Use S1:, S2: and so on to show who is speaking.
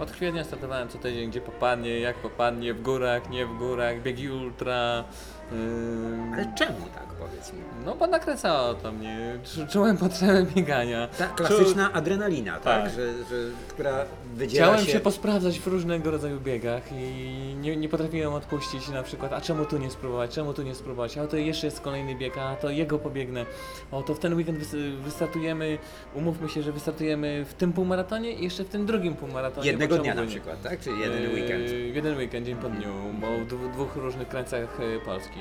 S1: Od kwietnia startowałem co tydzień, gdzie popadnie, jak popadnie, w górach, nie w górach, biegi ultra. ym,
S2: Ale czemu tak powiedz mi?
S1: No bo nakręcało to mnie, czu- czułem potrzebę biegania.
S2: Ta klasyczna adrenalina, tak?
S1: Tak.
S2: Że, że, która wydziela
S1: Chciałem
S2: się...
S1: się posprawdzać w różnego rodzaju biegach i nie, nie potrafiłem odpuścić na przykład, a czemu tu nie spróbować, czemu tu nie spróbować, a to jeszcze jest kolejny bieg, a to jego pobiegnę. O, to w ten weekend wys- wystartujemy, umówmy się, że wystartujemy w tym półmaratonie i jeszcze w tym drugim półmaratonie. bo
S2: Jednego
S1: czemu
S2: dnia na
S1: by No nie?
S2: przykład, tak? Czy jeden
S1: Yy,
S2: weekend?
S1: Jeden weekend, dzień po dniu, bo w dwu- dwóch różnych krańcach y, Polski.